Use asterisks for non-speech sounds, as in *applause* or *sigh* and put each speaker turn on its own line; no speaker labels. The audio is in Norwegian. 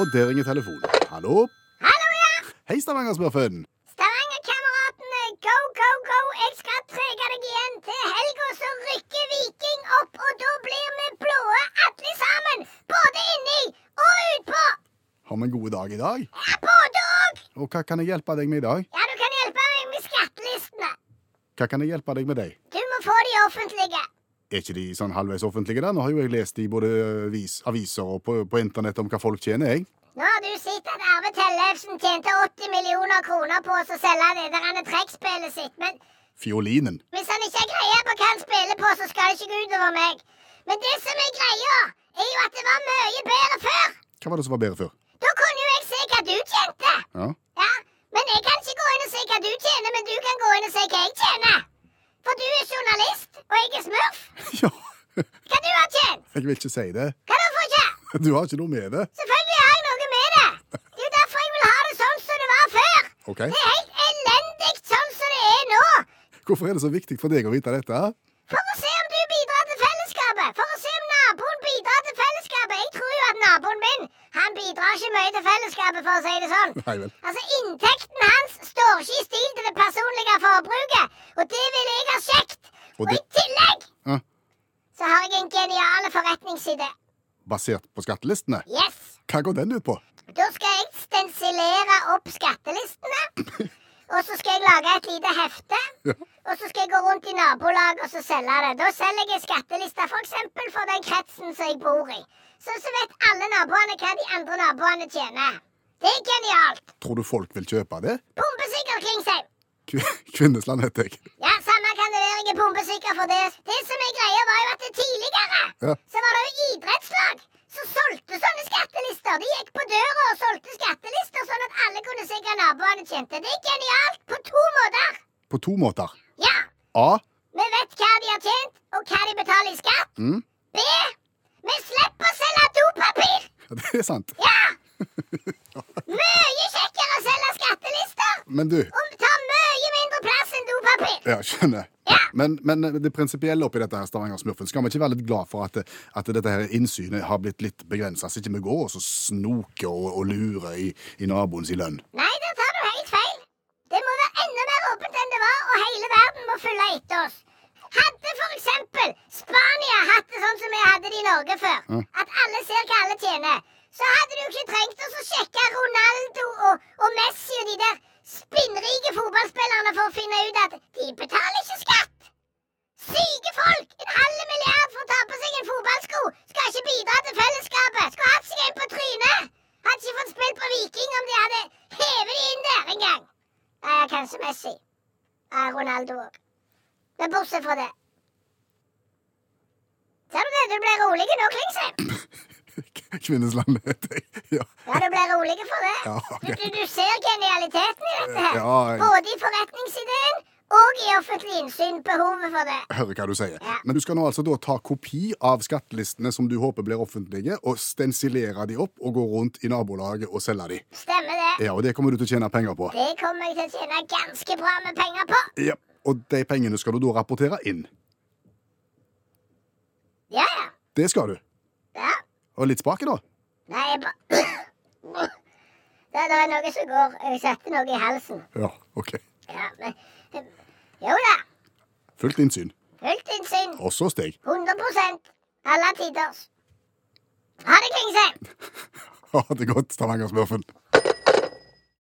og der ringer telefonen. Hallo?
Hallo, ja!
Hei, Stavanger-smurfen.
Stavangerkameratene, go, go, go! Jeg skal trege deg igjen. Til helga så rykker Viking opp, og da blir vi blåe alle sammen. Både inni og utpå.
Har vi en god dag i dag?
Ja, både òg.
Og hva kan jeg hjelpe deg med i dag?
Ja, du kan hjelpe meg med skattelistene.
Hva kan jeg hjelpe deg med deg?
Du må få de offentlige.
Er ikke de sånn halvveis offentlige der? Nå har jo jeg lest i både avis, aviser og på, på internett om hva folk tjener, jeg.
Nå har du sett at Arve Tellefsen tjente 80 millioner kroner på å selge det der han er trekkspillet sitt, men
Fiolinen.
Hvis han ikke har greie på hva han spiller på, så skal det ikke gå utover meg. Men det som er greia, er jo at det var mye bedre før.
Hva var det som var bedre før?
Da kunne jo jeg se hva du tjente.
Ja. *laughs*
Ja, Men jeg kan ikke gå inn og se hva du tjener, men du kan gå inn og se hva jeg tjener. For du er journalist, og jeg er smurf.
ja.
Hva du har tjent?
Jeg vil ikke si det.
Hva da, for ikke?
Du har ikke noe med det.
Selvfølgelig har jeg noe med det. Det er jo derfor jeg vil ha det sånn som det var før.
Ok.
Det er helt elendig sånn som det er nå.
Hvorfor er det så viktig for deg å vite dette?
For å se om du bidrar til fellesskapet! For å se om naboen bidrar til fellesskapet! Jeg tror jo at naboen min han bidrar ikke mye til fellesskapet, for å si det sånn.
Nei vel.
Altså, Inntekten hans står ikke i stil til det personlige forbruket, og det vil jeg ha kjekt.
Og
Og,
det-
i tillegg
Ja.
så har jeg en genial forretningsidé.
Basert på skattelistene?
Yes!
Hva går den ut på?
Da skal jeg stensilere opp skattelistene. Og så skal jeg lage et lite hefte.
Ja.
Og så skal jeg gå rundt i nabolaget og så selge det. Da selger jeg skattelister f.eks. For, for den kretsen som jeg bor i. Så, så vet alle naboene hva de andre naboene tjener. Det er genialt.
Tror du folk vil kjøpe det?
Bombesikker Klingsheim.
Kv Kvinnesland heter jeg.
Ja, samme kan det være. Jeg er bombesikker for det. Det som er greia, var jo at det tidligere
Ja.
så var det jo idrettslag som solgte sånne skattelister. De gikk på døra og solgte skattelister sånn at alle kunne se hva naboene tjente. Det er genialt på to måter.
På to måter.
Ja,
A. *laughs*
vi vet hva de har tjent, og hva de betaler i skatt.
Mm.
B. Vi slipper å selge dopapir.
Ja, Det er sant. *laughs*
Ja! Mye kjekkere å selge skattelister.
Men du
Og tar mye mindre plass enn dopapir.
Ja, skjønner.
Ja.
Men, men det prinsipielle oppi dette her, Stavanger-smurfen, skal vi ikke være litt glad for at, at dette her innsynet har blitt litt begrensa, så ikke vi går og så snoker og, og lurer i, i naboens i lønn? *laughs*
Nei, der tar du helt feil. Det må være enda mer åpent enn det var, og hele verden må følge etter oss. Hadde for eksempel Spania hatt det sånn som vi hadde det i Norge før,
Ja.
at alle ser hva alle tjener, så hadde du ikke trengt oss å sjekke Ronaldo og, og Messi og de der spinnrike fotballspillerne for å finne ut at de betaler ikke skatt. Syke folk! En halv milliard for å ta på seg en fotballsko skal ikke bidra til fellesskapet. Skulle hatt seg en på trynet. Hadde ikke fått spilt på Viking om de hadde hevet de inn der engang. Nei, ja, kanskje Messi. Ja, Ronaldo òg. Men bortsett fra det. Ser du det? Du ble rolig nå, Klingsheim.
*laughs* Kvinnesland heter jeg. Ja.
Ja, du ble rolig for det.
Ja, ok.
du, du, du ser genialiteten i dette her.
Ja, jeg-
Både i forretningsideen og i offentlig innsyn. Behovet for det.
Hører hva du sier.
Ja.
Men du skal nå altså da ta kopi av skattelistene som du håper blir offentlige, og stensilere de opp og gå rundt i nabolaget og selge de.
Stemmer det.
Ja, og det kommer du til å tjene penger på.
Det kommer jeg til å tjene ganske bra med penger på.
Ja, Og de pengene skal du da rapportere inn.
Ja, ja.
Det skal du.
ja.
Og litt spake, da.
Nei, jeg *coughs* bare det, det er noe som går. Jeg setter noe i halsen.
Ja, ok.
Ja, men Jo da.
Fullt innsyn.
Fullt innsyn.
Også steg. *laughs*
100 Alle tiders. Ha det, Klingsheim.
Ha det godt, Stavanger-smurfen.